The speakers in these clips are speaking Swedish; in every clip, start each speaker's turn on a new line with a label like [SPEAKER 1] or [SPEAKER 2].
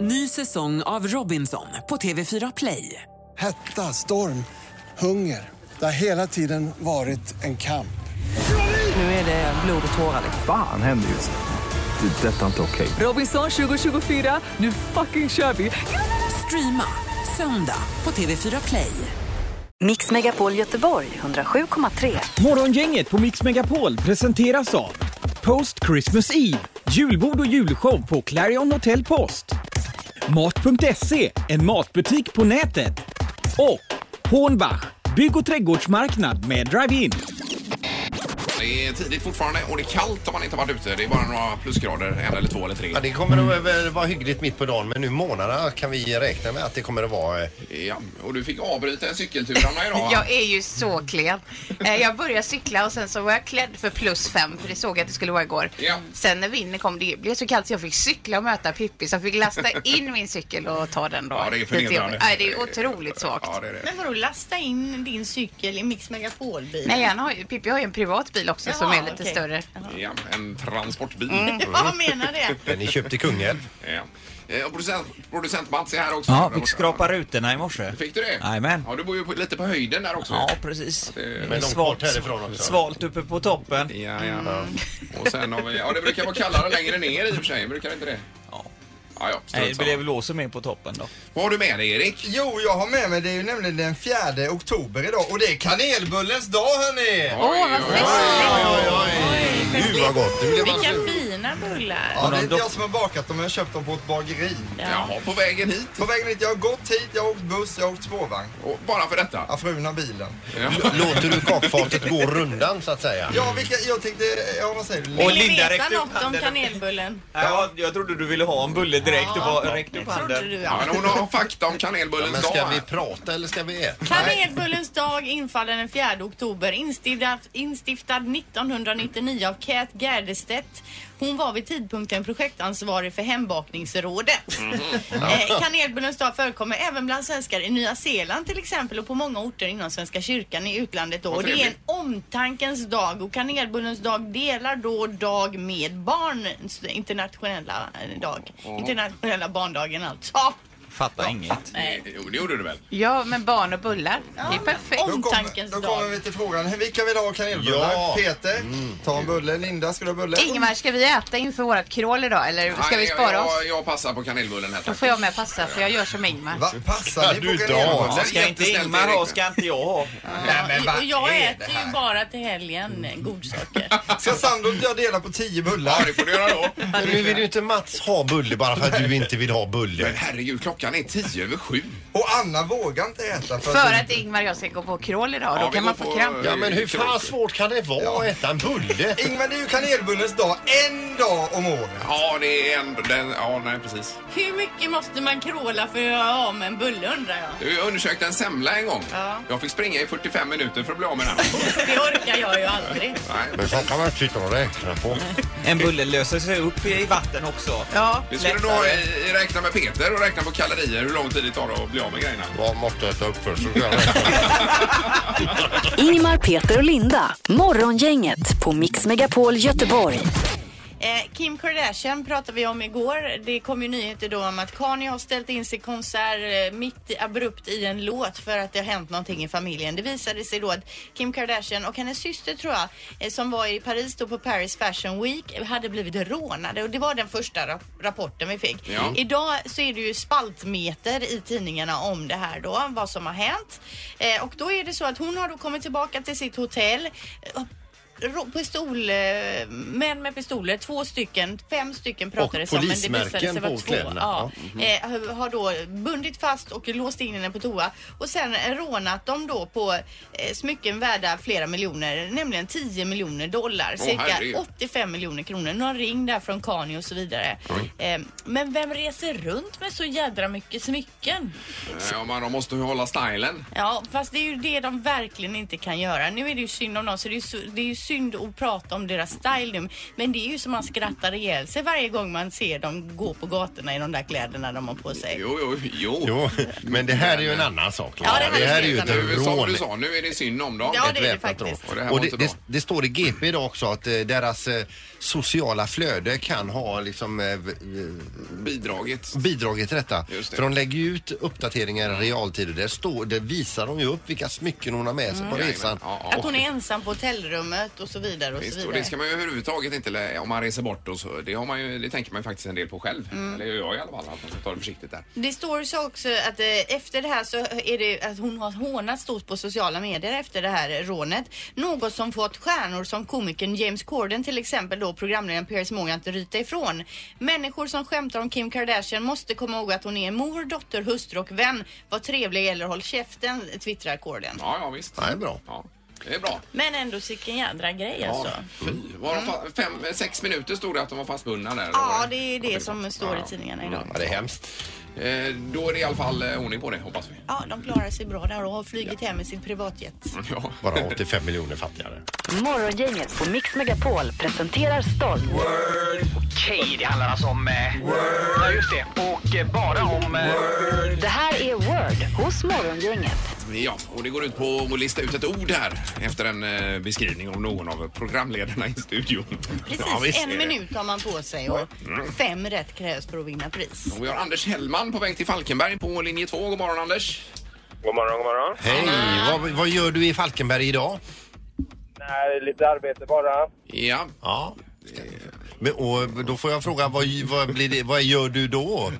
[SPEAKER 1] Ny säsong av Robinson på TV4 Play.
[SPEAKER 2] Hetta, storm, hunger. Det har hela tiden varit en kamp.
[SPEAKER 1] Nu är det blod och tårar. liksom.
[SPEAKER 3] Fan händer just nu. Det. är Detta är inte okej.
[SPEAKER 1] Robinson 2024, nu fucking kör vi! Streama söndag på TV4 Play.
[SPEAKER 4] Mix Megapol Göteborg 107,3.
[SPEAKER 5] Morgongänget på Mix Megapol presenteras av Post Christmas Eve, julbord och julshow på Clarion Hotel Post. Mat.se, en matbutik på nätet. Och Hornbach, bygg och trädgårdsmarknad med drive-in.
[SPEAKER 6] Det är tidigt fortfarande och det är kallt om man inte har varit ute. Det är bara några plusgrader, en eller två eller tre.
[SPEAKER 7] Ja, det kommer
[SPEAKER 8] Mm.
[SPEAKER 7] att väl vara hyggligt mitt på dagen men nu månaderna kan vi räkna med att det kommer att vara... eh,
[SPEAKER 6] Ja, och du fick avbryta en cykeltur Anna idag va?
[SPEAKER 9] Jag är ju så klen. Eh, Jag började cykla och sen så var jag klädd för plus fem för det såg jag att det skulle vara igår.
[SPEAKER 6] Ja.
[SPEAKER 9] Sen när vinden kom det blev så kallt så jag fick cykla och möta Pippi som fick lasta in min cykel och ta den då.
[SPEAKER 6] Ja, det är
[SPEAKER 9] Lite
[SPEAKER 6] förnedrande.
[SPEAKER 9] jobbigt. Nej, det är otroligt svagt.
[SPEAKER 6] Ja, det är det.
[SPEAKER 8] Men vadå lasta in din cykel i Mix Megapol-bilen?
[SPEAKER 9] Nej, han har, ju- Pippi har ju en privat bil också som
[SPEAKER 8] Jaha,
[SPEAKER 9] är lite
[SPEAKER 8] okej.
[SPEAKER 9] större.
[SPEAKER 6] Ja, en transportbil.
[SPEAKER 8] Vad menar det?
[SPEAKER 7] Men ni köpte Kungälv.
[SPEAKER 6] Ja. Eh, Och producent, producent Mats är här också.
[SPEAKER 10] Ja,
[SPEAKER 6] Där
[SPEAKER 10] fick
[SPEAKER 6] borta.
[SPEAKER 10] skrapa rutorna i morse.
[SPEAKER 6] Fick du det?
[SPEAKER 10] Jajamän.
[SPEAKER 6] Ja, du bor ju på, lite på höjden där också.
[SPEAKER 10] Ja, precis.
[SPEAKER 6] Det-
[SPEAKER 7] Men långt bort härifrån också.
[SPEAKER 10] Svalt uppe på toppen.
[SPEAKER 6] Ja, ja. Och sen har vi, ja det brukar vara kallare längre ner i och för sig, brukar det inte det?
[SPEAKER 10] Ja.
[SPEAKER 6] Ja, ja,
[SPEAKER 10] Nej,
[SPEAKER 6] strunt
[SPEAKER 10] det blev
[SPEAKER 6] samma.
[SPEAKER 10] låser med på toppen då.
[SPEAKER 6] Vad har du med dig Erik?
[SPEAKER 11] Jo, jag har med mig, det är ju nämligen den 4 oktober idag och det är kanelbullens dag hörni!
[SPEAKER 6] Åh, vad
[SPEAKER 7] Gud vad gott! Nu blev man
[SPEAKER 8] Vilka
[SPEAKER 7] sugen.
[SPEAKER 8] fina bullar.
[SPEAKER 11] Ja, det är inte jag som har bakat dem, jag har köpt dem på ett bageri.
[SPEAKER 6] Jaha, på vägen hit.
[SPEAKER 11] På vägen hit, jag har gått hit, jag har åkt buss, jag har åkt spårvagn.
[SPEAKER 6] Och bara för detta.
[SPEAKER 11] Ja, frun har bilen.
[SPEAKER 6] Ja.
[SPEAKER 7] Låter du kakfatet gå rundan så att säga?
[SPEAKER 11] Ja, vilka, jag tänkte, ja vad säger du?
[SPEAKER 10] Och
[SPEAKER 8] Vill ni
[SPEAKER 10] Linda
[SPEAKER 8] veta
[SPEAKER 10] räckte upp
[SPEAKER 8] något om
[SPEAKER 10] handen.
[SPEAKER 8] kanelbullen?
[SPEAKER 10] Ja, jag trodde du ville ha en bulle direkt. Du bara räckte
[SPEAKER 8] Det
[SPEAKER 10] upp
[SPEAKER 8] trodde
[SPEAKER 10] handen.
[SPEAKER 8] du
[SPEAKER 6] Ja,
[SPEAKER 8] ja.
[SPEAKER 6] men hon har fakta om
[SPEAKER 7] Men
[SPEAKER 6] kanelbullens
[SPEAKER 7] ska
[SPEAKER 6] dag
[SPEAKER 7] vi
[SPEAKER 6] här.
[SPEAKER 7] prata eller ska vi äta?
[SPEAKER 8] Kanelbullens dag infaller den 4 oktober. Instiftad, instiftad 1999 av Kat Gärdestedt. Hon var vid tidpunkten projektansvarig för Hembakningsrådet.
[SPEAKER 6] Mhm.
[SPEAKER 8] Eh, Kanelbullens dag förekommer även bland svenskar i Nya Zeeland till exempel och på många orter inom Svenska kyrkan i utlandet. Då.
[SPEAKER 6] Vad
[SPEAKER 8] Och det är en
[SPEAKER 6] trevligt.
[SPEAKER 8] omtankens dag och kanelbullens dag delar då dag med barn. Internationella eh, dag. Internationella barndagen alltså.
[SPEAKER 10] Fattar inget.
[SPEAKER 8] Nej.
[SPEAKER 6] Eh, Jo, det gjorde du väl?
[SPEAKER 9] Ja, men barn och bullar. det är perfekt.
[SPEAKER 11] Då
[SPEAKER 8] Omtankens
[SPEAKER 11] kommer, då kommer
[SPEAKER 8] dag.
[SPEAKER 11] vi till frågan, hur- vilka vill ha kanelbullar?
[SPEAKER 7] Ja.
[SPEAKER 11] Peter, ta en bulle. Linda, ska du ha bulle?
[SPEAKER 9] Ingemar, ska vi äta inför vårt crawl idag eller ska vi
[SPEAKER 6] Nej,
[SPEAKER 9] spara
[SPEAKER 6] jag,
[SPEAKER 9] oss?
[SPEAKER 6] Jag, jag passar på kanelbullen här
[SPEAKER 9] Då
[SPEAKER 6] tack.
[SPEAKER 9] får jag med passa för jag gör som Ingmar.
[SPEAKER 11] Va, passar ni
[SPEAKER 7] Kan du
[SPEAKER 11] på
[SPEAKER 7] inte
[SPEAKER 11] kanelbullar?
[SPEAKER 7] ha?
[SPEAKER 6] det är
[SPEAKER 10] Ska inte
[SPEAKER 6] jättesnällt,
[SPEAKER 10] Ingmar ha,
[SPEAKER 6] Erik.
[SPEAKER 10] ska inte jag ha.
[SPEAKER 11] Nej, men vad
[SPEAKER 8] Och jag
[SPEAKER 11] är
[SPEAKER 8] äter
[SPEAKER 11] det
[SPEAKER 8] ju
[SPEAKER 11] här?
[SPEAKER 8] bara till helgen eh, godsaker.
[SPEAKER 11] Ska Sandro och jag dela på 10
[SPEAKER 6] Ja,
[SPEAKER 11] bullar?
[SPEAKER 6] det får du göra då.
[SPEAKER 7] Men nu vill ju inte Mats ha bulle bara för att du inte vill ha
[SPEAKER 6] Men
[SPEAKER 7] bulle.
[SPEAKER 6] herregud, klockan är tio över sju.
[SPEAKER 11] Och Anna vågar inte äta för,
[SPEAKER 9] För att Ingmar och jag ska gå på crawl idag,
[SPEAKER 6] Ja,
[SPEAKER 9] då
[SPEAKER 6] vi
[SPEAKER 9] kan man
[SPEAKER 6] går
[SPEAKER 9] få
[SPEAKER 6] på-
[SPEAKER 9] kramp.
[SPEAKER 7] Ja men hur fan svårt kan det vara att äta en bulle?
[SPEAKER 11] Ingmar, det är ju kanelbullens dag en dag om året.
[SPEAKER 6] Ja, det är en... Den, ja, nej, precis.
[SPEAKER 8] Hur mycket måste man kråla för att göra av med en bulle undrar jag?
[SPEAKER 6] Jag undersökte en semla en gång.
[SPEAKER 8] Ja.
[SPEAKER 6] Jag fick springa i 45 minuter för att bli av med den.
[SPEAKER 8] Det orkar jag ju aldrig.
[SPEAKER 6] nej,
[SPEAKER 7] Men så kan man sitta och räkna på.
[SPEAKER 8] Mm.
[SPEAKER 10] En bulle löser sig upp i vatten också.
[SPEAKER 9] Ja,
[SPEAKER 6] vi skulle nog eh, räkna med Peter och räkna på kalorier, hur lång tid det tar att bli av med grejerna.
[SPEAKER 7] Vad måste jag äta upp först? Så kan jag räkna.
[SPEAKER 4] Ingemar, Peter och Linda. Morgongänget på Mix Megapol Göteborg.
[SPEAKER 8] Eh, Kim Kardashian pratade vi om igår. Det kom ju nyheter då om att Kanye har ställt in sin konsert eh, mitt i, abrupt i en låt för att det har hänt någonting i familjen. Det visade sig då att Kim Kardashian och hennes syster tror jag, eh, som var i Paris då på Paris Fashion Week, eh, hade blivit rånade och det var den första rap- rapporten vi fick.
[SPEAKER 6] Ja.
[SPEAKER 8] Idag så är det ju spaltmeter i tidningarna om det här då, vad som har hänt. Eh, och då är det så att hon har då kommit tillbaka till sitt hotell eh, ro- pistol, eh, män med pistoler, två stycken, fem stycken pratade
[SPEAKER 7] Och
[SPEAKER 8] som, men det
[SPEAKER 7] polismärken
[SPEAKER 8] visade sig
[SPEAKER 7] på
[SPEAKER 8] vara två.
[SPEAKER 7] kläderna.
[SPEAKER 8] Ja. Eh, har då bundit fast och låst in henne på toa och sen rånat dem då på eh, smycken värda flera miljoner, nämligen 10 miljoner dollar,
[SPEAKER 6] Åh,
[SPEAKER 8] cirka
[SPEAKER 6] herregud.
[SPEAKER 8] 85 miljoner kronor. Någon ring där från Kanye och så vidare. Eh, men vem reser runt med så jädra mycket smycken?
[SPEAKER 6] Ja, men de måste ju hålla stylen.
[SPEAKER 8] Ja, fast det är ju det de verkligen inte kan göra. Nu är det ju synd om dem, så det är ju, su- det är ju synd att prata om deras style nu. Men det är ju som man skrattar ihjäl sig varje gång man ser dem gå på gatorna i de där kläderna de har på sig.
[SPEAKER 6] Jo, jo, jo.
[SPEAKER 7] Jo, men det här är ju en annan sak.
[SPEAKER 8] Ja, det här är
[SPEAKER 7] ju
[SPEAKER 8] helt
[SPEAKER 7] ett
[SPEAKER 8] annan.
[SPEAKER 6] Nu, som
[SPEAKER 7] rån.
[SPEAKER 6] du sa, nu är det synd om dem.
[SPEAKER 8] Ja, det är det
[SPEAKER 7] ett väpnat
[SPEAKER 8] faktiskt.
[SPEAKER 7] rån.
[SPEAKER 6] Och det här var
[SPEAKER 7] Och
[SPEAKER 6] inte
[SPEAKER 7] det,
[SPEAKER 6] bra.
[SPEAKER 7] det, det står i GP idag också att eh, deras eh, sociala flöde kan ha liksom, eh,
[SPEAKER 6] bidragit.
[SPEAKER 7] bidragit till detta.
[SPEAKER 6] Just det.
[SPEAKER 7] För de lägger ju ut uppdateringar i realtid och där, står, där visar de ju upp vilka smycken hon har med sig
[SPEAKER 8] Mm.
[SPEAKER 7] på resan.
[SPEAKER 8] Att hon är ensam på hotellrummet och så vidare och så
[SPEAKER 6] Visst,
[SPEAKER 8] vidare.
[SPEAKER 6] och det ska man ju överhuvudtaget inte, lä- om man reser bort och så, det, har man ju, det tänker man ju faktiskt en del på själv.
[SPEAKER 8] Mm.
[SPEAKER 6] Eller gör jag i alla fall, att man ska ta det försiktigt där.
[SPEAKER 8] Det står så också att eh, efter det här så är det att hon har hånats stort på sociala medier efter det här rånet. Något som fått stjärnor som komikern James Corden till exempel då programledaren Piers Morgan att ryta ifrån. Människor som skämtar om Kim Kardashian måste komma ihåg att hon är mor, dotter, hustru och vän. Var trevlig eller håll käften, twittrar Corden.
[SPEAKER 6] Ja, ja visst.
[SPEAKER 7] Det är bra.
[SPEAKER 6] Ja, det är bra.
[SPEAKER 8] Men ändå sicken jädra grej
[SPEAKER 6] Ja,
[SPEAKER 8] alltså.
[SPEAKER 6] fy. Var de fa- fem, sex minuter stod det att de var fastbundna där.
[SPEAKER 8] Ja, det är det som står i tidningarna idag.
[SPEAKER 7] Ja, det är hemskt.
[SPEAKER 6] Eh, då är det i alla fall eh, ordning på det, hoppas vi.
[SPEAKER 8] Ja, de klarar sig bra där och har flugit hem i sin privatjet.
[SPEAKER 6] Ja.
[SPEAKER 7] Bara 85 miljoner fattigare.
[SPEAKER 4] Morgongänget på Mix Megapol presenterar stolt.
[SPEAKER 12] Okej, det handlar alltså om... Eh, ja, just det. Och eh, bara om... Eh,
[SPEAKER 4] Det här är Word hos Morgongänget.
[SPEAKER 6] Ja, och det går ut på att lista ut ett ord här efter en eh, beskrivning av någon av programledarna i studion.
[SPEAKER 8] Precis,
[SPEAKER 6] Ja, visst är
[SPEAKER 8] en
[SPEAKER 6] det.
[SPEAKER 8] minut har man på sig och
[SPEAKER 6] Mm.
[SPEAKER 8] fem rätt krävs för att vinna pris.
[SPEAKER 6] Och vi har Anders Hellman på väg till Falkenberg på linje 2. God morgon Anders!
[SPEAKER 13] God morgon, god morgon.
[SPEAKER 7] Hej! Vad, vad gör du i Falkenberg idag?
[SPEAKER 13] Nej, lite arbete bara.
[SPEAKER 6] Ja.
[SPEAKER 7] ja. Men, och då får jag fråga, vad, vad, blir det, vad gör du då?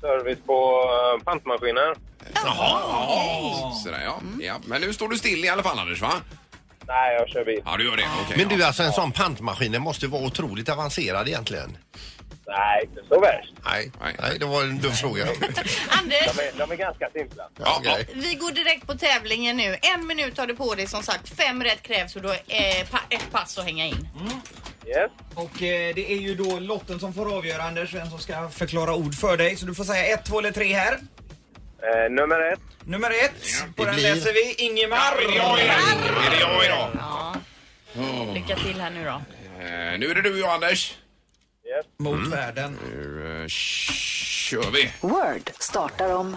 [SPEAKER 13] Service på eh, pantmaskiner.
[SPEAKER 6] Jaha! Typ Sådär ja.
[SPEAKER 7] Mm.
[SPEAKER 6] ja. Men nu står du still i alla fall Anders va?
[SPEAKER 13] Nej, jag kör bil.
[SPEAKER 6] Ja, du gör det. Okej.
[SPEAKER 7] Men du, alltså en sån pantmaskin den måste ju vara otroligt avancerad egentligen.
[SPEAKER 13] Nej, inte så värst.
[SPEAKER 7] Nej, nej det var en dum fråga.
[SPEAKER 8] Anders,
[SPEAKER 13] De är, de är ganska simpla.
[SPEAKER 7] Okej.
[SPEAKER 8] vi går direkt på tävlingen nu. En minut har du på dig som sagt. Fem rätt krävs och du har eh, pa- ett pass att hänga in.
[SPEAKER 10] Och eh, det är ju då lotten som får avgöra Anders vem som ska förklara ord för dig. Så du får säga ett, två eller tre här.
[SPEAKER 13] Eh, nummer ett.
[SPEAKER 10] Nummer ett. På den läser vi Ingemar.
[SPEAKER 6] Är det jag idag?
[SPEAKER 8] Ja.
[SPEAKER 6] Åh.
[SPEAKER 8] Lycka till här nu då.
[SPEAKER 6] Eh, nu är det du och Anders.
[SPEAKER 10] Mot
[SPEAKER 6] Mm.
[SPEAKER 10] världen.
[SPEAKER 6] Nu eh, kör vi.
[SPEAKER 4] Word startar om...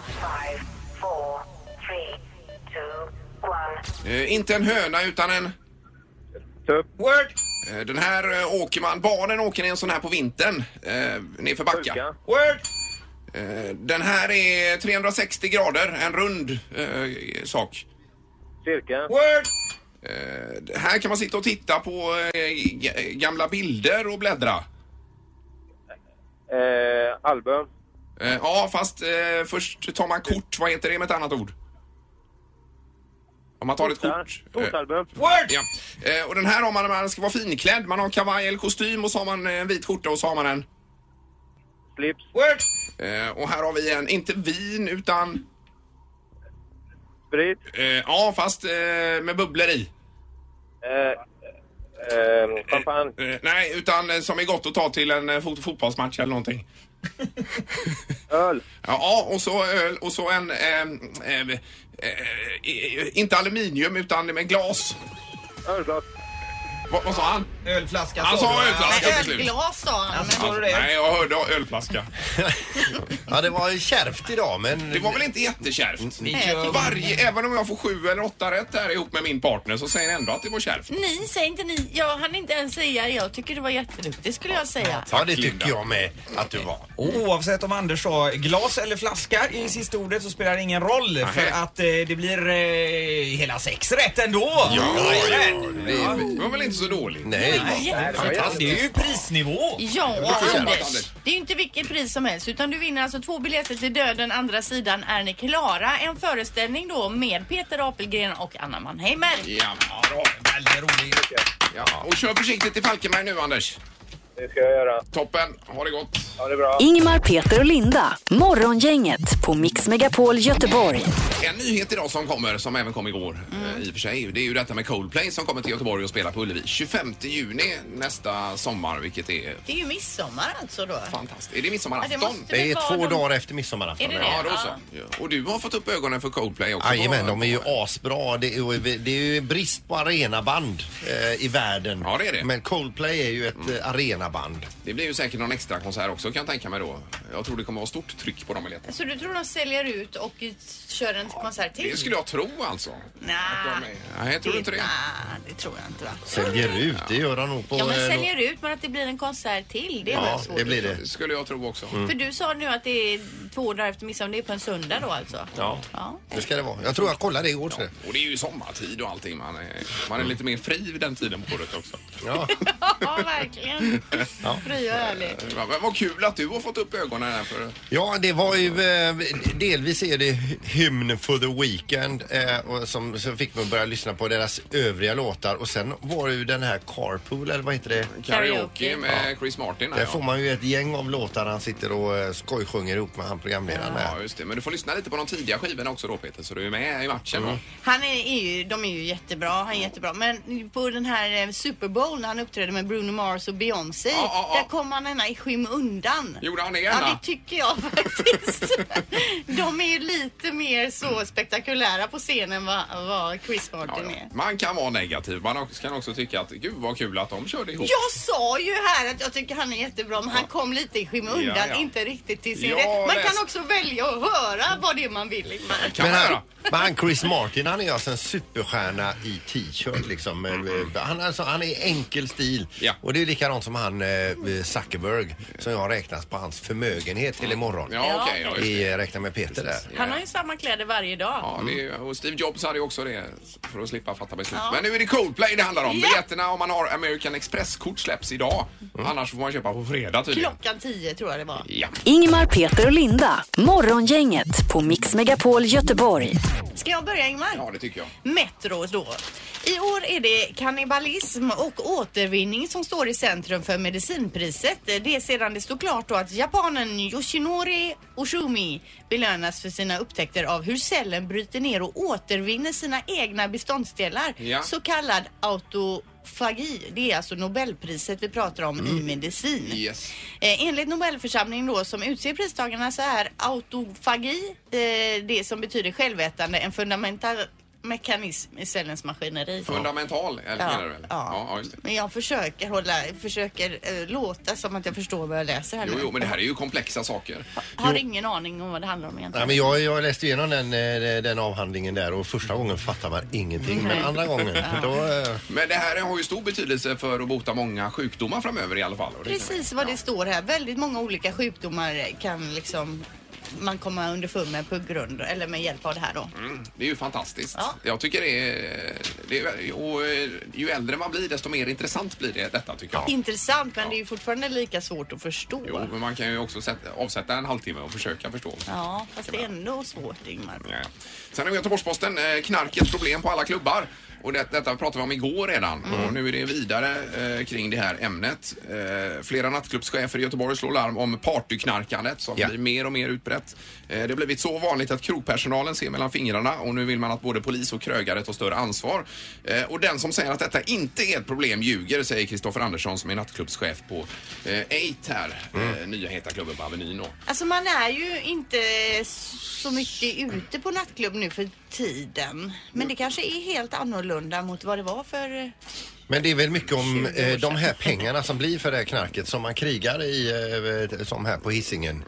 [SPEAKER 6] Eh, inte en höna utan en...
[SPEAKER 13] Tupp.
[SPEAKER 10] Word.
[SPEAKER 6] Eh, den här eh, åker man... Barnen åker i en sån här på vintern. Eh, nerför backar.
[SPEAKER 10] Word.
[SPEAKER 6] Eh, den här är 360 grader. En rund eh, sak.
[SPEAKER 13] Cirka.
[SPEAKER 10] Word.
[SPEAKER 6] Eh, här kan man sitta och titta på eh, ga- gamla bilder och bläddra.
[SPEAKER 13] Eh, album.
[SPEAKER 6] Eh, ja, fast eh, först tar man kort. Vad heter det med ett annat ord? Om man tar ett kort.
[SPEAKER 13] Fotalbum.
[SPEAKER 10] Word!
[SPEAKER 6] Ja. Eh, och den här har man när man ska vara finklädd. Man har kavaj eller kostym och så har man eh, en vit skjorta och så har man en...
[SPEAKER 13] Slips.
[SPEAKER 10] Word!
[SPEAKER 6] Eh, och här har vi en, inte vin utan...
[SPEAKER 13] Sprit.
[SPEAKER 6] Eh, ja, fast eh, med bubblor i.
[SPEAKER 13] Eh, eh, champagne.
[SPEAKER 6] Eh, nej, utan eh, som är gott att ta till en eh, fot- fotbollsmatch eller någonting.
[SPEAKER 13] Öl.
[SPEAKER 6] Ja, och så öl och så en... ehm, ehm, eh, eh, inte aluminium utan med glas.
[SPEAKER 13] Ölglas.
[SPEAKER 6] Vad, vad sa han?
[SPEAKER 10] Ölflaska
[SPEAKER 6] Han sa
[SPEAKER 10] du.
[SPEAKER 6] ölflaska till slut.
[SPEAKER 8] Ölglas sa han.
[SPEAKER 10] Sa du det?
[SPEAKER 6] Nej, jag hörde ölflaska.
[SPEAKER 7] Ja, det var kärvt idag men...
[SPEAKER 6] Det var väl inte jättekärvt?
[SPEAKER 8] Nej, jag tycker-
[SPEAKER 6] Varje, även om jag får sju eller åtta rätt här ihop med min partner så säger ni ändå att det var kärvt.
[SPEAKER 8] Ni, säg inte ni. Jag hann inte ens säga. Jag tycker du var jätteduktig skulle jag säga.
[SPEAKER 7] Ja, det tycker jag med att du var.
[SPEAKER 10] Och oavsett om Anders sa glas eller flaska i sista ordet så spelar det ingen roll för att eh, det blir eh, hela sex rätt ändå. Jajamän.
[SPEAKER 6] Det var väl inte så dåligt?
[SPEAKER 7] Nej,
[SPEAKER 8] det var-
[SPEAKER 10] Fantastiskt. Det är ju prisnivå.
[SPEAKER 8] Ja,
[SPEAKER 6] får jag jobba,
[SPEAKER 8] Anders.
[SPEAKER 6] Anders.
[SPEAKER 8] Det är ju inte vilket pris som helst utan du vinner alltså två biljetter till Döden andra sidan är ni klara? En föreställning då med Peter Apelgren och Anna Mannheimer.
[SPEAKER 6] Ja,
[SPEAKER 10] bra. Väldigt roligt.
[SPEAKER 6] ja. Och kör försiktigt till Falkenberg nu Anders.
[SPEAKER 13] Det ska jag göra.
[SPEAKER 6] Toppen, ha det gott.
[SPEAKER 13] Ha det bra.
[SPEAKER 4] Ingmar, Peter och Linda. Morgongänget på Mix Megapol Göteborg.
[SPEAKER 6] En nyhet idag som kommer, som även kom igår eh, i och för sig, det är ju detta med Coldplay som kommer till Göteborg och spelar på Ullevi 25 juni nästa sommar, vilket är
[SPEAKER 8] Det är ju midsommar alltså då.
[SPEAKER 6] fantastiskt. Är det
[SPEAKER 8] Ja, det
[SPEAKER 6] midsommarafton?
[SPEAKER 8] måste väl
[SPEAKER 7] Det är två
[SPEAKER 8] Var de-
[SPEAKER 7] dagar efter alltså. midsommarafton.
[SPEAKER 8] Är det det?
[SPEAKER 6] Ja, då
[SPEAKER 8] Ja.
[SPEAKER 6] så. Ja. Och du har fått upp ögonen för Coldplay också?
[SPEAKER 7] Jajamän, de är ju asbra. Det är, det är ju brist på arenaband eh, i världen.
[SPEAKER 6] Ja, det är det.
[SPEAKER 7] Men Coldplay är ju ett mm. sina band.
[SPEAKER 6] Det blir ju säkert någon extra konsert också kan jag tänka mig då. Jag tror det kommer vara stort tryck på de biljetterna.
[SPEAKER 8] Så du tror de säljer ut och kör en konsert till?
[SPEAKER 6] Det skulle jag tro alltså.
[SPEAKER 8] Nah,
[SPEAKER 6] Nej, jag tror inte det.
[SPEAKER 8] Nah, det tror jag inte va?
[SPEAKER 7] Säljer ut, det gör han nog på...
[SPEAKER 8] Ja men
[SPEAKER 7] eh,
[SPEAKER 8] säljer ut men att det blir en konsert till, det är väl svårt?
[SPEAKER 7] det blir det.
[SPEAKER 6] skulle jag tro också.
[SPEAKER 8] För du sa nu att det är två dagar efter midsommar, det är på en söndag då alltså?
[SPEAKER 7] Ja.
[SPEAKER 8] Ja.
[SPEAKER 7] Det ska det vara. Jag tror jag kollade det igår. Ja.
[SPEAKER 6] Och det är ju sommartid och allting. Man är, man är lite mer fri vid den tiden på året också.
[SPEAKER 7] Mm. Ja.
[SPEAKER 8] ja, verkligen. Fri och ärlig.
[SPEAKER 6] Men vad kul att du har fått upp ögonen här för...
[SPEAKER 7] Ja, det var ju eh, delvis är det hymn for the weekend eh, och som, som fick mig att börja lyssna på deras övriga låtar och sen var det ju den här Carpool eller vad heter det?
[SPEAKER 6] Karaoke med Chris Martin här,
[SPEAKER 7] Där
[SPEAKER 6] ja.
[SPEAKER 7] får man ju ett gäng av låtar han sitter och eh, skojsjunger ihop med han programledaren där.
[SPEAKER 6] Ja, just det. Men du får lyssna lite på de tidiga skivorna också då Peter, så du är med i matchen.
[SPEAKER 7] Mm.
[SPEAKER 6] va?
[SPEAKER 8] Han är, är ju, de är ju jättebra, han är jättebra. Men på den här eh, Super Bowl när han uppträdde med Bruno Mars och Beyoncé, där kom han ena i skymundan.
[SPEAKER 6] Gjorde han det
[SPEAKER 8] Ja,
[SPEAKER 6] ena?
[SPEAKER 8] det tycker jag faktiskt. de är ju lite mer så spektakulära på scenen vad, vad Chris Martin är.
[SPEAKER 6] Man kan vara negativ. Man också- kan också tycka att gud vad kul att de körde ihop.
[SPEAKER 8] Jag sa ju här att jag tycker han är jättebra men han kom lite i skymundan,
[SPEAKER 6] Ja, ja.
[SPEAKER 8] inte riktigt till sin
[SPEAKER 7] Jag
[SPEAKER 8] rätt. Man
[SPEAKER 7] läste-
[SPEAKER 8] kan också välja att höra vad det är man vill. Ingmar.
[SPEAKER 7] Men han, men han Chris Martin han är alltså en superstjärna i t-shirt liksom.
[SPEAKER 6] Mm.
[SPEAKER 7] Han, alltså, han är enkel stil. Och det är likadant som han eh, Zuckerberg som jag räknas på hans förmögenhet till imorgon.
[SPEAKER 6] Ja, okej, ja, just det.
[SPEAKER 7] Vi eh, räknar med Peter där.
[SPEAKER 8] Han har ju samma kläder varje dag.
[SPEAKER 6] Ja, det är,
[SPEAKER 7] Mm.
[SPEAKER 6] ju- och Steve Jobs hade ju också det för att slippa fatta beslut.
[SPEAKER 8] Ja.
[SPEAKER 6] Men nu är det Coldplay det handlar om.
[SPEAKER 8] Ja.
[SPEAKER 6] Biljetterna om man har American Express-kort släpps idag.
[SPEAKER 7] Mm.
[SPEAKER 6] Annars får man köpa på fredag tydligen.
[SPEAKER 8] Klockan tio tror jag det var.
[SPEAKER 6] Ja.
[SPEAKER 4] Ingmar, Peter och Linda. Morgongänget på Mix Megapol Göteborg.
[SPEAKER 8] Ska jag börja Ingmar?
[SPEAKER 6] Ja, det tycker jag.
[SPEAKER 8] Metro då. I år är det kannibalism och återvinning som står i centrum för medicinpriset. Det är sedan det stod klart då att japanen Yoshinori Oshumi belönas för sina upptäckter av hur cellen bryter ner och återvinner sina egna beståndsdelar.
[SPEAKER 14] Ja.
[SPEAKER 8] Så kallad autofagi. Det är alltså Nobelpriset vi pratar om i medicin.
[SPEAKER 6] Yes.
[SPEAKER 8] Eh, enligt Nobelförsamlingen då som utser pristagarna så är autofagi eh, det som betyder självätande en fundamental mekanism i cellens maskineri.
[SPEAKER 6] Fundamental, eller
[SPEAKER 8] Ja.
[SPEAKER 6] menar du väl? Ja. ja, just det.
[SPEAKER 8] Men jag försöker hålla, försöker eh, låta som att jag förstår vad jag läser här
[SPEAKER 6] Jo,
[SPEAKER 8] nu.
[SPEAKER 6] jo, men det här är ju komplexa saker.
[SPEAKER 8] Jag har ingen aning om vad det handlar om egentligen.
[SPEAKER 7] Nej, men jag, jag läste igenom den, eh, den avhandlingen där och första gången fattar man ingenting. Men
[SPEAKER 8] Nej.
[SPEAKER 7] andra gången
[SPEAKER 8] Ja.
[SPEAKER 7] då... eh,
[SPEAKER 6] Men det här har ju stor betydelse för att bota många sjukdomar framöver i alla fall. Och det-
[SPEAKER 8] Precis vad det står här. Väldigt många olika sjukdomar kan liksom man komma underfund med på grund eller med hjälp av det här då.
[SPEAKER 6] Mm, det är ju fantastiskt. Jag tycker det är, det är... Och eh, ju äldre man blir desto mer intressant blir det, detta tycker jag.
[SPEAKER 8] Intressant men det är ju fortfarande lika svårt att förstå.
[SPEAKER 6] Jo, men man kan ju också sätta, avsätta en halvtimme och försöka förstå.
[SPEAKER 8] Ja, fast det är ändå svårt Ingmar.
[SPEAKER 6] Ja. Sen har vi Göteborgs-Posten. Eh, knark ett problem på alla klubbar. Och det, detta pratade vi om igår redan
[SPEAKER 7] Mm.
[SPEAKER 6] och nu är det vidare eh, kring det här ämnet. Eh, flera nattklubbschefer i Göteborg slår larm om partyknarkandet som blir mer och mer utbrett. Eh, det har blivit så vanligt att krogpersonalen ser mellan fingrarna och nu vill man att både polis och krögare tar större ansvar. Eh, och den som säger att detta inte är ett problem ljuger, säger Kristoffer Andersson som är nattklubbschef på eh, Eight här,
[SPEAKER 7] Mm.
[SPEAKER 6] eh, nya heta klubben på Avenyn. då.
[SPEAKER 8] Alltså man är ju inte så mycket ute på nattklubb nu för tiden. Men det kanske är helt annorlunda mot vad det var för...
[SPEAKER 7] Men det är väl mycket om eh, de här pengarna som blir för det här knarket som man krigar i, eh, som här på hissingen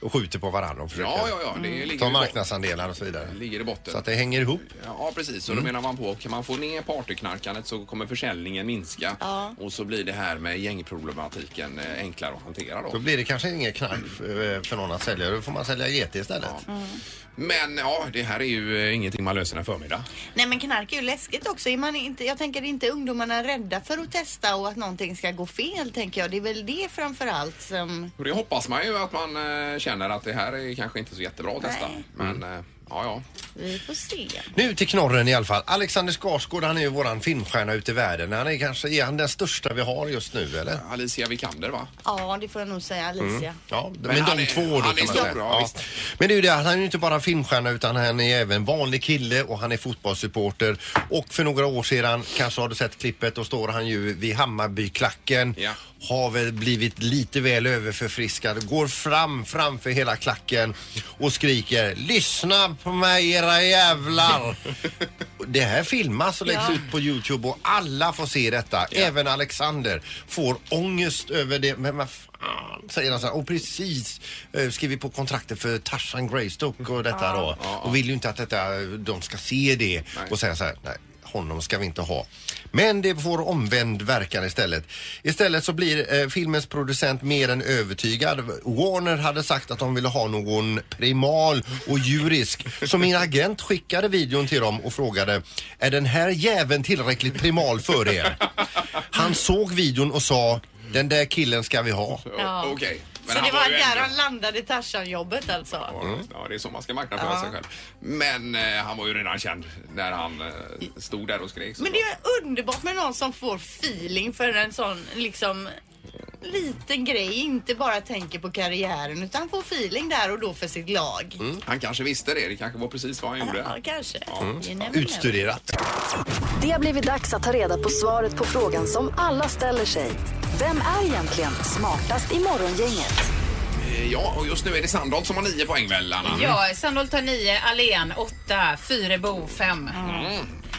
[SPEAKER 7] och skjuter på varandra och försöker
[SPEAKER 6] Mm, Ja, ja, ja, det ligger i
[SPEAKER 7] Mm. ta
[SPEAKER 6] botten.
[SPEAKER 7] marknadsandelar och så vidare.
[SPEAKER 6] Ligger i botten.
[SPEAKER 7] Så att det hänger ihop.
[SPEAKER 6] Ja, precis. Och då menar man på att kan man få ner partyknarkandet så kommer försäljningen minska och så blir det här med gängproblematiken eh, enklare att hantera då.
[SPEAKER 7] Då blir det kanske inget knark eh, för någon att sälja. Då får man sälja GT istället.
[SPEAKER 6] Men ja, det här är ju eh, ingenting man löser en förmiddag.
[SPEAKER 8] Nej men knark är ju läskigt också. Är man inte, jag tänker inte ungdomarna är rädda för att testa och att någonting ska gå fel tänker jag. Det är väl det framför allt som...
[SPEAKER 6] Och det hoppas man ju att man eh, känner att det här är kanske inte så jättebra att testa. Men eh, ja, ja.
[SPEAKER 8] Vi får se.
[SPEAKER 7] Nu till knorren i alla fall. Alexander Skarsgård han är ju våran filmstjärna ute i världen. Han är kanske är han den största vi har just nu eller?
[SPEAKER 6] Alicia Vikander va?
[SPEAKER 8] Ja, det får jag nog säga Alicia.
[SPEAKER 7] Mm. Ja,
[SPEAKER 6] Men
[SPEAKER 7] men, de
[SPEAKER 6] han är-
[SPEAKER 7] två då
[SPEAKER 6] han är
[SPEAKER 7] kan man
[SPEAKER 6] stor,
[SPEAKER 7] säga.
[SPEAKER 6] ja, visst.
[SPEAKER 7] Men det är ju det, han är ju inte bara filmstjärna utan han är även vanlig kille och han är fotbollssupporter. Och för några år sedan, kanske har du sett klippet, då står han ju vid Hammarbyklacken. Har väl blivit lite väl överförfriskad. Går fram framför hela klacken och skriker Lyssna på mig era jävlar. Det här filmas och läggs
[SPEAKER 11] Ja.
[SPEAKER 7] ut på Youtube och alla får se detta. Även Alexander får ångest över det. Men vad fan säger han så här. Och precis eh, skrivit på kontraktet för Tarzan Greystock och detta då. Och vill ju inte att detta, de ska se det och säga så här. Nej, honom ska vi inte ha. Men det får omvänd verkan istället. Istället så blir eh, filmens producent mer än övertygad. Warner hade sagt att de ville ha någon primal och djurisk. Så min agent skickade videon till dem och frågade Är den här jäveln tillräckligt primal för er? Han såg videon och sa Den där killen ska vi ha.
[SPEAKER 8] Ja.
[SPEAKER 6] Okej.
[SPEAKER 8] Så det var där han landade i Tarzan-jobbet alltså?
[SPEAKER 6] Ja, det är så man ska marknadsföra sig själv. Men eh, han var ju redan känd när han eh, stod där och skrek. så.
[SPEAKER 8] Men det är underbart med någon som får feeling för en sån liksom liten grej. Inte bara tänker på karriären utan får feeling där och då för sitt lag.
[SPEAKER 6] Mm. Han kanske visste det. Det kanske var precis vad han gjorde.
[SPEAKER 8] Ja, kanske. You never know.
[SPEAKER 7] Utstuderat.
[SPEAKER 4] Det har blivit dags att ta reda på svaret på frågan som alla ställer sig. Vem är egentligen smartast i Morgongänget?
[SPEAKER 6] Eh, Ja, och just nu är det Sandholt som har nio poäng väl, Anna?
[SPEAKER 9] Ja, Sandholt har 9, Allén 8, Fyrebo 5.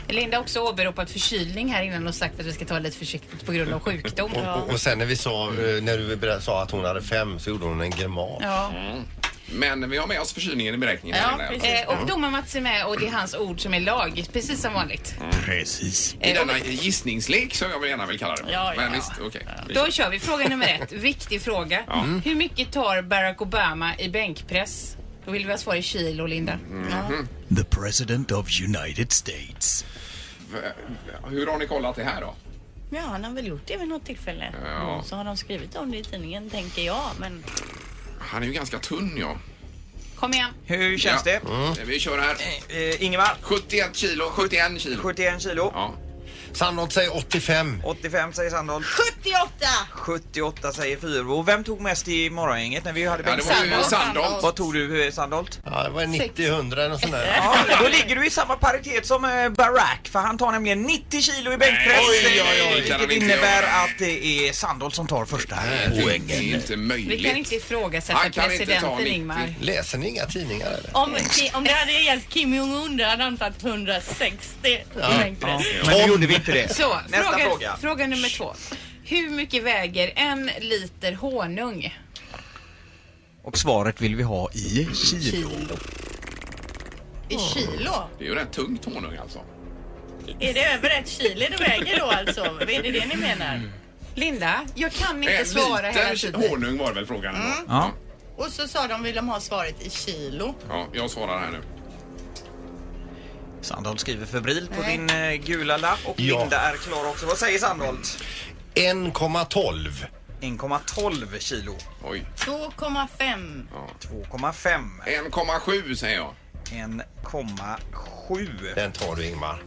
[SPEAKER 9] Linda har också åberopat förkylning här innan och sagt att vi ska ta det lite försiktigt på grund av sjukdom.
[SPEAKER 7] Och, och, och sen när vi sa, eh, när du ber- sa att hon hade fem så gjorde hon en grimas.
[SPEAKER 9] Ja.
[SPEAKER 6] Men vi har med oss förkylningen i beräkningen.
[SPEAKER 9] Ja,
[SPEAKER 6] Helena.
[SPEAKER 9] eh, och domar Mats är med och det är hans ord som är lag, precis som vanligt.
[SPEAKER 6] Precis. I denna gissningslek som jag gärna vill kalla det.
[SPEAKER 9] Ja, ja,
[SPEAKER 6] Men
[SPEAKER 9] ja.
[SPEAKER 6] visst, okej.
[SPEAKER 9] Då kör vi fråga nummer ett, viktig fråga.
[SPEAKER 6] Ja. Mm.
[SPEAKER 9] Hur mycket tar Barack Obama i bänkpress? Då vill vi ha svar i kilo, Linda.
[SPEAKER 10] Mm,
[SPEAKER 14] The President of United States.
[SPEAKER 6] V- Hur har ni kollat det här då?
[SPEAKER 8] Ja, han har väl gjort det vid något tillfälle.
[SPEAKER 6] Ja.
[SPEAKER 8] Så har de skrivit om det i tidningen, tänker jag. Men
[SPEAKER 6] Han är ju ganska tunn ja.
[SPEAKER 9] Kom igen.
[SPEAKER 10] Hur känns
[SPEAKER 6] Ja.
[SPEAKER 10] det? Mm.
[SPEAKER 6] Vi kör här.
[SPEAKER 10] Eh, Ingemar?
[SPEAKER 6] 71 kilo. 71 kilo.
[SPEAKER 10] 71 kilo.
[SPEAKER 6] Ja.
[SPEAKER 7] Sandholt säger 85.
[SPEAKER 10] 85 säger Sandholt.
[SPEAKER 8] 78!
[SPEAKER 10] 78 säger Fyrebo. Vem tog mest i morgongänget när vi hade
[SPEAKER 7] Ja, det var ju
[SPEAKER 10] bänk?
[SPEAKER 7] Sandholt.
[SPEAKER 10] Vad tog du eh, Sandholt?
[SPEAKER 7] Ja, det var 90-100 eller något sånt där.
[SPEAKER 10] Ja, då ligger du i samma paritet som eh, Barack för han tar nämligen 90 kilo i bänkpress.
[SPEAKER 6] Nej, oj, oj, oj, det kan han
[SPEAKER 10] vilket
[SPEAKER 6] inte
[SPEAKER 10] innebär
[SPEAKER 6] göra.
[SPEAKER 10] att det är Sandholt som tar första
[SPEAKER 6] det är
[SPEAKER 10] poängen.
[SPEAKER 6] inte
[SPEAKER 9] Vi kan inte ifrågasätta
[SPEAKER 10] Han kan inte ta
[SPEAKER 9] presidenten
[SPEAKER 10] 90.
[SPEAKER 9] Ingmar.
[SPEAKER 7] Läser ni inga tidningar eller?
[SPEAKER 8] om, om det hade gällt Kim Jong-Un då hade han tagit 160
[SPEAKER 7] Ja.
[SPEAKER 8] i bänkpress.
[SPEAKER 10] Men nu gjorde vi inte det.
[SPEAKER 9] Så,
[SPEAKER 10] Nästa
[SPEAKER 9] fråga,
[SPEAKER 10] fråga.
[SPEAKER 9] fråga nummer två. Hur mycket väger en liter honung?
[SPEAKER 10] Och svaret vill vi ha i kilo.
[SPEAKER 8] I kilo?
[SPEAKER 6] Det är ju rätt tungt honung alltså.
[SPEAKER 8] Är det över ett kilo det väger då alltså? Är det det ni menar?
[SPEAKER 9] Linda, jag kan
[SPEAKER 6] Eh, liter honung var det väl frågan? ändå?
[SPEAKER 8] Mm.
[SPEAKER 6] Ja.
[SPEAKER 8] Och så sa de vill de ha svaret i kilo.
[SPEAKER 6] ja, jag svarar här nu.
[SPEAKER 10] Sandholt skriver febril på din eh, gula lapp och Linda är klar också. Vad säger Sandholt?
[SPEAKER 7] 1,12.
[SPEAKER 10] 1,12 kilo.
[SPEAKER 6] Oj.
[SPEAKER 8] 2,5.
[SPEAKER 10] 2,5.
[SPEAKER 6] 1,7 säger jag.
[SPEAKER 10] 1,7.
[SPEAKER 7] Den tar du Ingmar.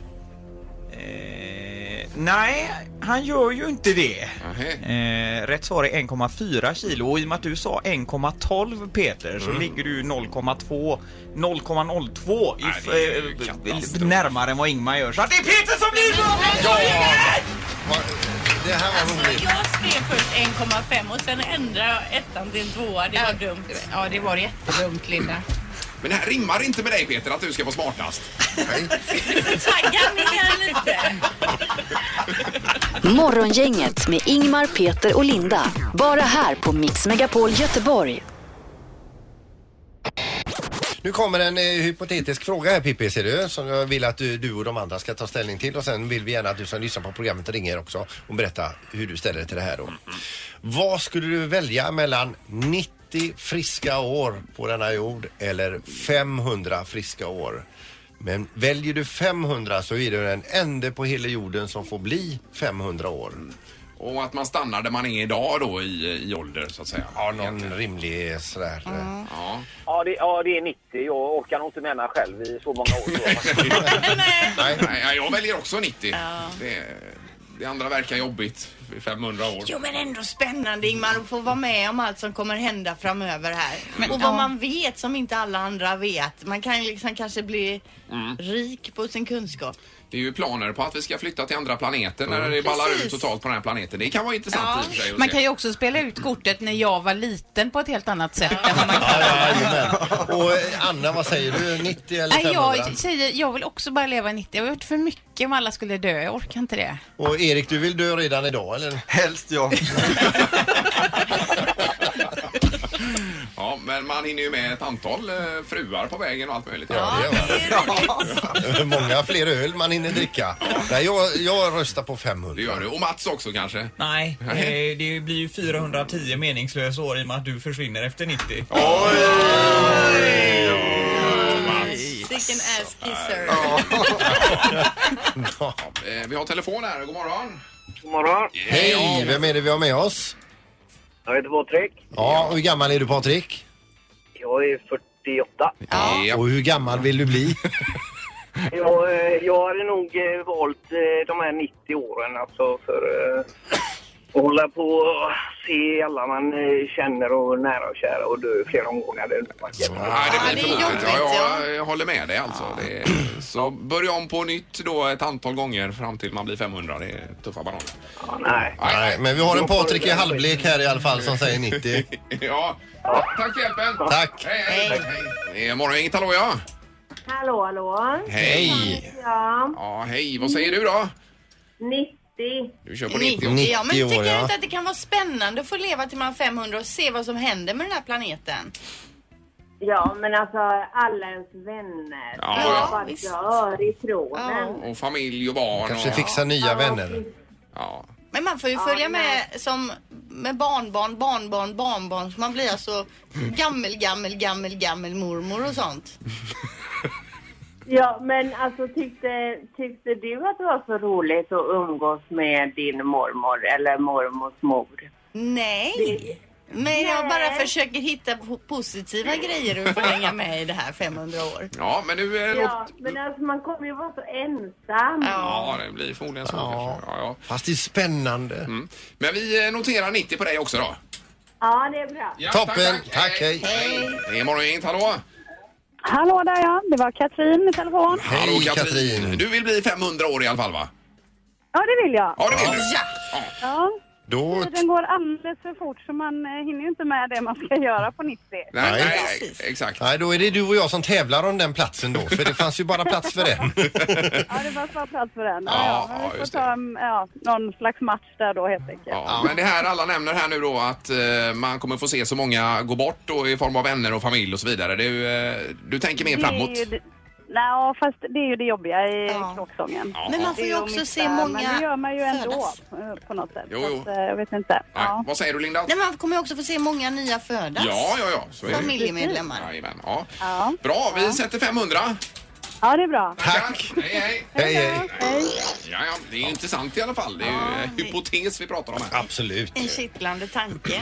[SPEAKER 10] Eh, nej, han gör ju inte det. Eh, rätt svar är 1,4 kilo och i och med att du sa 1,12 Peter så
[SPEAKER 11] Mm.
[SPEAKER 10] ligger du 0,2 0,02
[SPEAKER 11] Nej,
[SPEAKER 10] if,
[SPEAKER 11] det är ju
[SPEAKER 10] eh,
[SPEAKER 11] katastrof.
[SPEAKER 10] närmare än vad Ingmar gör. Så att det är Peter som blir vinnare!
[SPEAKER 7] Det här var roligt.
[SPEAKER 8] Jag skrev först 1,5 och sen ändrade jag ettan till en tvåa. Det var dumt.
[SPEAKER 9] Ja, det var jättedumt Linda.
[SPEAKER 6] Men det här rimmar inte med dig Peter att du ska vara smartast.
[SPEAKER 8] Tagga ner lite.
[SPEAKER 4] Morgongänget med Ingmar, Peter och Linda. Bara här på Mix Megapol Göteborg.
[SPEAKER 7] Nu kommer en eh, hypotetisk fråga här Pippi, ser du? Som jag vill att du, du och de andra ska ta ställning till och sen vill vi gärna att du som lyssnar på programmet ringer också och berätta hur du ställer dig till det här då. Vad skulle du välja mellan 90 friska år på denna jord eller 500 friska år? Men väljer du 500 så är du den ende på hela jorden som får bli 500 år.
[SPEAKER 6] Och att man stannar där man är idag då i, i ålder så att säga.
[SPEAKER 7] Ja, någon rimlig sådär. eh.
[SPEAKER 6] Ja.
[SPEAKER 13] Ja det, ja, det är 90. Jag orkar nog inte med mig själv i så många år.
[SPEAKER 6] Nej, nej, jag väljer också 90. Det, det andra verkar jobbigt i 500 år.
[SPEAKER 8] Jo men ändå spännande Ingmar att få vara med om allt som kommer hända framöver här.
[SPEAKER 6] Men,
[SPEAKER 8] och vad
[SPEAKER 6] ja.
[SPEAKER 8] man vet som inte alla andra vet. Man kan ju liksom kanske bli
[SPEAKER 6] Mm.
[SPEAKER 8] rik på sin kunskap.
[SPEAKER 6] Det är ju planer på att vi ska flytta till andra planeter när det ballar ut
[SPEAKER 9] Precis.
[SPEAKER 6] totalt på den här planeten. Det kan vara intressant i och för sig. att se.
[SPEAKER 9] Man Alltså, kan ju också spela ut kortet när jag var liten på ett helt annat sätt.
[SPEAKER 7] Ja, jajamän. Och eh, Anna, vad säger du? 90 eller
[SPEAKER 9] Nej,
[SPEAKER 7] 500?
[SPEAKER 9] jag säger, jag vill också bara leva 90. Jag har gjort för mycket om alla skulle dö. Jag orkar inte det.
[SPEAKER 7] Och Erik, du vill dö redan idag eller?
[SPEAKER 11] Helst ja.
[SPEAKER 6] Ja, men man hinner ju med ett antal eh, fruar på vägen och allt möjligt.
[SPEAKER 7] Många fler öl man hinner dricka. Nej, jag, jag röstar på 500. Det
[SPEAKER 6] gör du. Och Mats också kanske?
[SPEAKER 10] Nej, eh, det blir ju 410 meningslösa år i och med att du försvinner efter 90.
[SPEAKER 8] Vilken ass kisser.
[SPEAKER 6] Ja. Eh, Vi har telefon här. God morgon.
[SPEAKER 15] God morgon.
[SPEAKER 7] Hej, vem är det vi har med oss?
[SPEAKER 15] Jag heter Patrik.
[SPEAKER 7] Ja, och hur gammal är du Patrik?
[SPEAKER 15] Jag är 48.
[SPEAKER 7] Och hur gammal vill du bli?
[SPEAKER 15] Jag, eh, jag hade nog eh, valt eh, de här 90 åren alltså för eh, att hålla på och se alla man eh, känner och nära och kära och dö flera omgångar. Det är
[SPEAKER 6] Nej, det blir för långt. Ja, jag, jag håller med dig alltså. Det är, så börja om på nytt då ett antal gånger fram till man blir 500. Det är tuffa bananer.
[SPEAKER 15] nej.
[SPEAKER 7] Nej, men vi har en Patrik i halvlek här i alla fall som säger 90.
[SPEAKER 6] ja. Tack för hjälpen.
[SPEAKER 7] Tack.
[SPEAKER 6] Hej, hej. hej. Eh, Morgongänget, hallå ja.
[SPEAKER 16] Hallå, hallå.
[SPEAKER 6] Hej.
[SPEAKER 16] Ja,
[SPEAKER 6] Ja, hej. Vad säger du då?
[SPEAKER 16] 90.
[SPEAKER 6] Du kör på 90.
[SPEAKER 8] ja, men tycker du inte att det kan vara spännande att få leva till man är 500 och se vad som händer med den här planeten?
[SPEAKER 16] Ja, men alltså alla ens vänner.
[SPEAKER 6] Ja,
[SPEAKER 16] jag
[SPEAKER 6] ja.
[SPEAKER 16] bara dör ifrån
[SPEAKER 6] Och familj och barn.
[SPEAKER 7] Kanske
[SPEAKER 6] och,
[SPEAKER 7] fixa nya vänner.
[SPEAKER 6] Ja.
[SPEAKER 8] Men man får ju följa med som med barnbarn, barnbarn, barnbarn. Så man blir alltså gammel, gammel, gammel, gammel mormor och sånt.
[SPEAKER 16] Ja, men alltså tyckte, tyckte du att det var så roligt att umgås med din mormor eller mormors mor?
[SPEAKER 8] Nej. Men jag bara försöker hitta po- positiva grejer och få hänga med i det här 500 år.
[SPEAKER 6] ja, men nu... eh, låt-
[SPEAKER 16] Ja, men alltså man kommer ju vara så ensam.
[SPEAKER 6] Ja, det blir förmodligen så. Ja. Ja, ja.
[SPEAKER 7] Fast det är spännande.
[SPEAKER 6] Men vi eh, noterar 90 på dig också då.
[SPEAKER 16] Ja, det är bra.
[SPEAKER 6] Ja,
[SPEAKER 7] Toppen. Tack, hej.
[SPEAKER 6] Det är Morgongänget, hallå.
[SPEAKER 17] Hallå där ja, det var Katrin i telefon.
[SPEAKER 6] Hallå Katrin. Du vill bli 500 år i alla fall va?
[SPEAKER 17] Ja, det vill jag.
[SPEAKER 6] Ja, det vill du.
[SPEAKER 17] Ja.
[SPEAKER 7] Då...
[SPEAKER 17] Tiden går alldeles för fort så man eh, hinner ju inte med det man ska göra på 90.
[SPEAKER 6] Nej, nej, exakt.
[SPEAKER 7] Nej, då är det du och jag som tävlar om den platsen då, för det fanns ju bara plats för en.
[SPEAKER 17] Ja, det var bara plats för den.
[SPEAKER 6] Ja,
[SPEAKER 17] Ja, ja,
[SPEAKER 6] ja,
[SPEAKER 17] men vi
[SPEAKER 6] just
[SPEAKER 17] får ta mm, ja, någon slags match där då helt enkelt.
[SPEAKER 6] Ja, men det här alla nämner här nu då att eh, man kommer få se så många gå bort då, i form av vänner och familj och så vidare. Du, eh, du tänker mer
[SPEAKER 17] Det är
[SPEAKER 6] framåt.
[SPEAKER 17] ju det- Nej, fast det är ju det jobbiga i kråksången.
[SPEAKER 6] Men man
[SPEAKER 8] får ju
[SPEAKER 17] Det är att
[SPEAKER 8] också se
[SPEAKER 17] missa,
[SPEAKER 8] många
[SPEAKER 17] Men det gör man ju ändå
[SPEAKER 8] födas.
[SPEAKER 17] eh, på något sätt.
[SPEAKER 6] Jo,
[SPEAKER 17] Så
[SPEAKER 6] jo.
[SPEAKER 17] att, eh, jag vet inte.
[SPEAKER 6] Nej.
[SPEAKER 17] Ja.
[SPEAKER 6] Vad säger du Linda?
[SPEAKER 8] Nej, man kommer ju också få se många nya födas.
[SPEAKER 6] Ja, ja, ja. så är det ju.
[SPEAKER 8] Familjemedlemmar.
[SPEAKER 6] Jajamän, ja.
[SPEAKER 17] Ja.
[SPEAKER 6] Bra, vi sätter 500.
[SPEAKER 17] ja, det är bra.
[SPEAKER 7] Tack!
[SPEAKER 6] Hej,
[SPEAKER 7] hej! Hej,
[SPEAKER 17] hej!
[SPEAKER 6] Ja, ja, det är ju intressant i alla fall. Det är ju eh, hypotes vi pratar om här.
[SPEAKER 7] Absolut.
[SPEAKER 8] En kittlande tanke.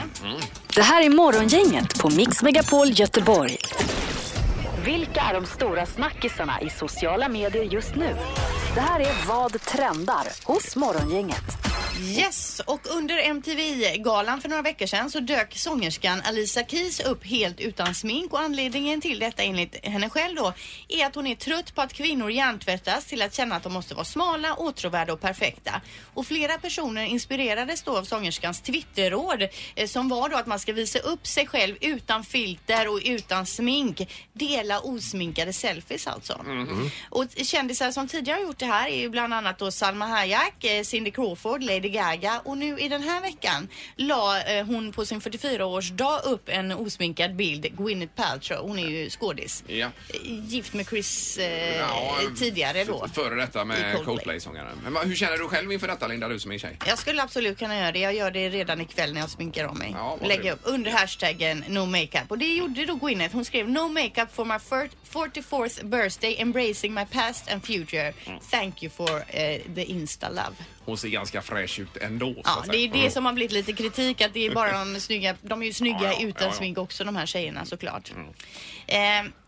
[SPEAKER 4] Det här är Morgongänget på Mix Megapol Göteborg. Vilka är de stora snackisarna i sociala medier just nu? Det här är Vad trendar hos Morgongänget.
[SPEAKER 8] Yes, och under MTV-galan för några veckor sedan så dök sångerskan Alisa Keys upp helt utan smink och anledningen till detta enligt henne själv då är att hon är trött på att kvinnor hjärntvättas till att känna att de måste vara smala, åtråvärda och perfekta. Och flera personer inspirerades då av sångerskans Twitterråd eh, som var då att man ska visa upp sig själv utan filter och utan smink. Dela osminkade selfies alltså. Och kändisar som tidigare har gjort det här är ju bland annat då Salma Hayek, eh, Cindy Crawford, Lady Gaga och nu i den här veckan la eh, hon på sin 44-årsdag upp en osminkad bild, Gwyneth Paltrow. Hon är ju skådis.
[SPEAKER 6] Ja.
[SPEAKER 8] Eh, Gift med Chris eh,
[SPEAKER 6] Ja,
[SPEAKER 8] eh, tidigare då.
[SPEAKER 6] F- Före detta
[SPEAKER 8] I
[SPEAKER 6] med
[SPEAKER 8] Coldplay.
[SPEAKER 6] Coldplay-sångaren. Men va- hur känner du själv inför detta Linda, du som är tjej?
[SPEAKER 8] Jag skulle absolut kunna göra det. Jag gör det redan ikväll när jag sminkar om mig.
[SPEAKER 6] Ja, vad
[SPEAKER 8] Lägger
[SPEAKER 6] trevligt.
[SPEAKER 8] upp under hashtaggen no makeup. Och det gjorde då Gwyneth. Hon skrev no makeup for my fir- 44th birthday embracing my past and future.
[SPEAKER 6] Mm.
[SPEAKER 8] Thank you for eh, the insta love.
[SPEAKER 6] Hon ser ganska fräsch ut ändå. så
[SPEAKER 8] Ja,
[SPEAKER 6] att
[SPEAKER 8] det är
[SPEAKER 6] säga. Mm.
[SPEAKER 8] det som har blivit lite kritik att det är bara de snygga, de är ju snygga
[SPEAKER 6] Ja, Mm. ja,
[SPEAKER 8] utan
[SPEAKER 6] ja, ja.
[SPEAKER 8] smink också de här tjejerna såklart. Eh,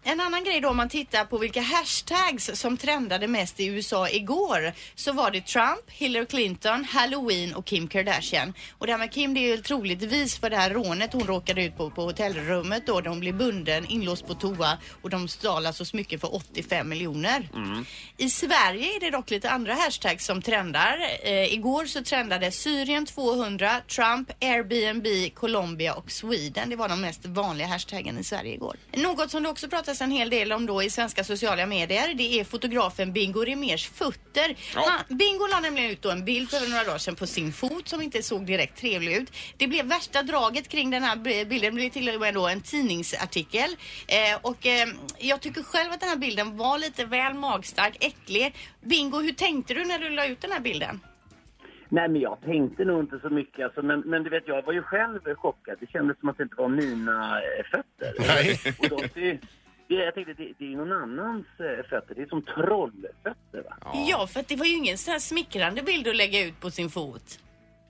[SPEAKER 9] En annan grej då om man tittar på vilka hashtags som trendade mest i USA igår så var det Trump, Hillary Clinton, Halloween och Kim Kardashian. Och det här med Kim det är ju troligtvis för det här rånet hon råkade ut på på hotellrummet då där hon blev bunden, inlåst på toa och de stal alltså smycken för 85 miljoner. I Sverige är det dock lite andra hashtags som trendar. Eh, igår så trendade Syrien 200, Trump, Airbnb, Colombia och Sweden. Det var de mest vanliga hashtaggen i Sverige igår. Något som det också pratas en hel del om då i svenska sociala medier det är fotografen Bingo Rimérs fötter. Han, Bingo la nämligen ut då en bild för några dagar sedan på sin fot som inte såg direkt trevlig ut. Det blev värsta draget kring den här b- bilden. Det blev till och med då en tidningsartikel. Eh, och eh, jag tycker själv att den här bilden var lite väl magstark, äcklig. Bingo, hur tänkte du när du la ut den här bilden?
[SPEAKER 8] Nej, men jag tänkte nog inte så mycket. Alltså, men, men du vet, jag var ju själv chockad. Det kändes som att det inte var mina eh, fötter. Och då, det, det, jag tänkte, det, det är någon annans eh, fötter. Det är som trollfötter, va?
[SPEAKER 9] Ja, för att det var ju ingen sån här smickrande bild att lägga ut på sin fot.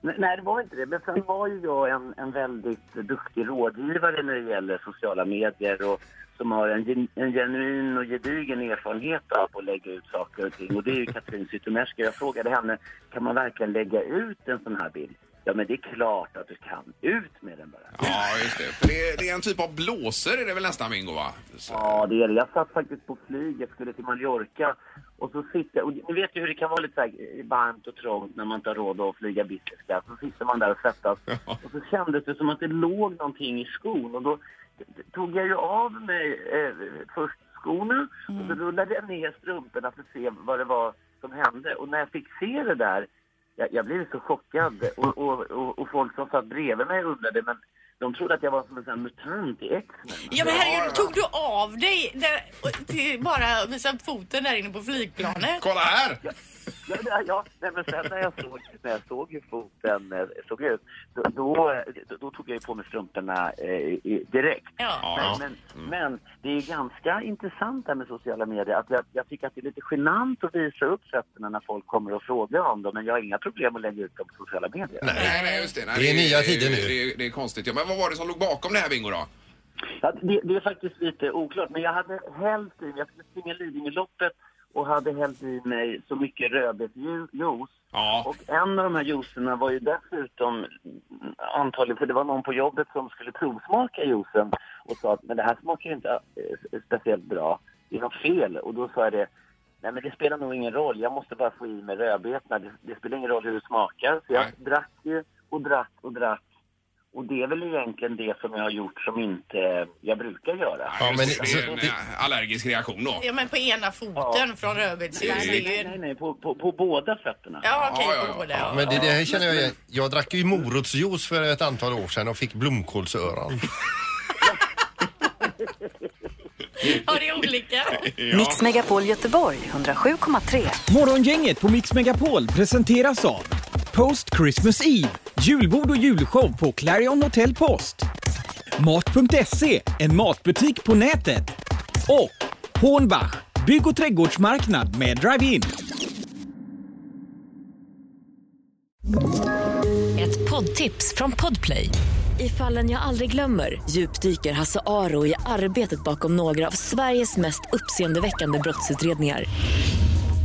[SPEAKER 8] Nej, Nej, det var inte det. Men sen var ju jag en, en väldigt duktig rådgivare när det gäller sociala medier och som har en, gen- en genuin och gedigen erfarenhet av att lägga ut saker och ting. Och det är ju Katrin Zytomierska. Jag frågade henne, kan man verkligen lägga ut en sån här bild? Ja, men det är klart att du kan. Ut med den bara.
[SPEAKER 6] Ja, just det. För det, det är en typ av blåser är det väl nästan Bingo va?
[SPEAKER 8] Ja, det är det. Jag satt faktiskt på flyg. Jag skulle till Mallorca. Och så sitter, och ni vet ju hur det kan vara lite så här eh, varmt och trångt när man inte har råd att flyga business class. Så sitter man där och svettas. Och så kändes det som att det låg någonting i skon. Och då tog jag ju av mig eh, först skorna och så rullade jag ner strumporna för att se vad det var som hände. Och när jag fick se det där, jag, jag blev så chockad. Och, och, och, och folk som satt bredvid mig undrade, men de trodde att jag var som en sån här mutant i X-Men.
[SPEAKER 9] Ja men herregud, tog du av dig där, och till, bara visa foten där inne på flygplanet?
[SPEAKER 6] Kolla här!
[SPEAKER 8] Ja, ja, ja. Nej, men sen när jag såg, när jag såg hur foten eh, såg ut, då, då, då, då tog jag ju på mig strumporna eh, i- direkt.
[SPEAKER 6] Ja.
[SPEAKER 8] Men, men, men det är ju ganska intressant det här med sociala medier. Att jag, jag tycker att det är lite genant att visa upp fötterna när folk kommer och frågar om dem. Men jag har inga problem att lägga ut dem på sociala medier.
[SPEAKER 6] Nej, nej, just det. Nej,
[SPEAKER 8] Det är nya tider
[SPEAKER 6] nu. Det, är- det är konstigt. Ja, men vad var det som låg bakom det här Bingo då?
[SPEAKER 8] Ja, det, det är faktiskt lite oklart, men jag hade hällt i, jag skulle springa Lidingöloppet och hade hällt i mig så mycket rödbetsjuice. Och en av de här juicerna var ju dessutom mm, antagligen, för det var någon på jobbet som skulle provsmaka juicen och sa att men det här smakar ju inte eh, speciellt bra, det är något fel. Och då sa jag det, nej men det spelar nog ingen roll, jag måste bara få i mig rödbetorna, det, det spelar ingen roll hur det smakar. Så jag drack ju och drack och drack och det är väl egentligen det som jag har gjort som inte jag brukar göra.
[SPEAKER 6] Ja, men det är en eh, allergisk reaktion då.
[SPEAKER 9] Ja men på ena foten från rödbetsjuice.
[SPEAKER 8] Nej,
[SPEAKER 9] det är ju-
[SPEAKER 8] nej, nej, nej på, på, på båda fötterna.
[SPEAKER 9] Ja okej,
[SPEAKER 8] Ja, ja,
[SPEAKER 9] på båda.
[SPEAKER 7] Ja, men det, det här känner jag igen. Jag drack ju morotsjuice för ett antal år sedan och fick blomkålsöron.
[SPEAKER 9] Ja det är olika.
[SPEAKER 1] Mix Megapol Göteborg 107,3.
[SPEAKER 10] Morgongänget på Mix Megapol presenteras av Post Christmas Eve, julbord och julshow på Clarion Hotel Post. Mat.se, en matbutik på nätet. Och Hornbach, bygg och trädgårdsmarknad med drive-in.
[SPEAKER 18] Ett poddtips från Podplay. I fallen jag aldrig glömmer djupdyker Hasse Aro i arbetet bakom några av Sveriges mest uppseendeväckande brottsutredningar.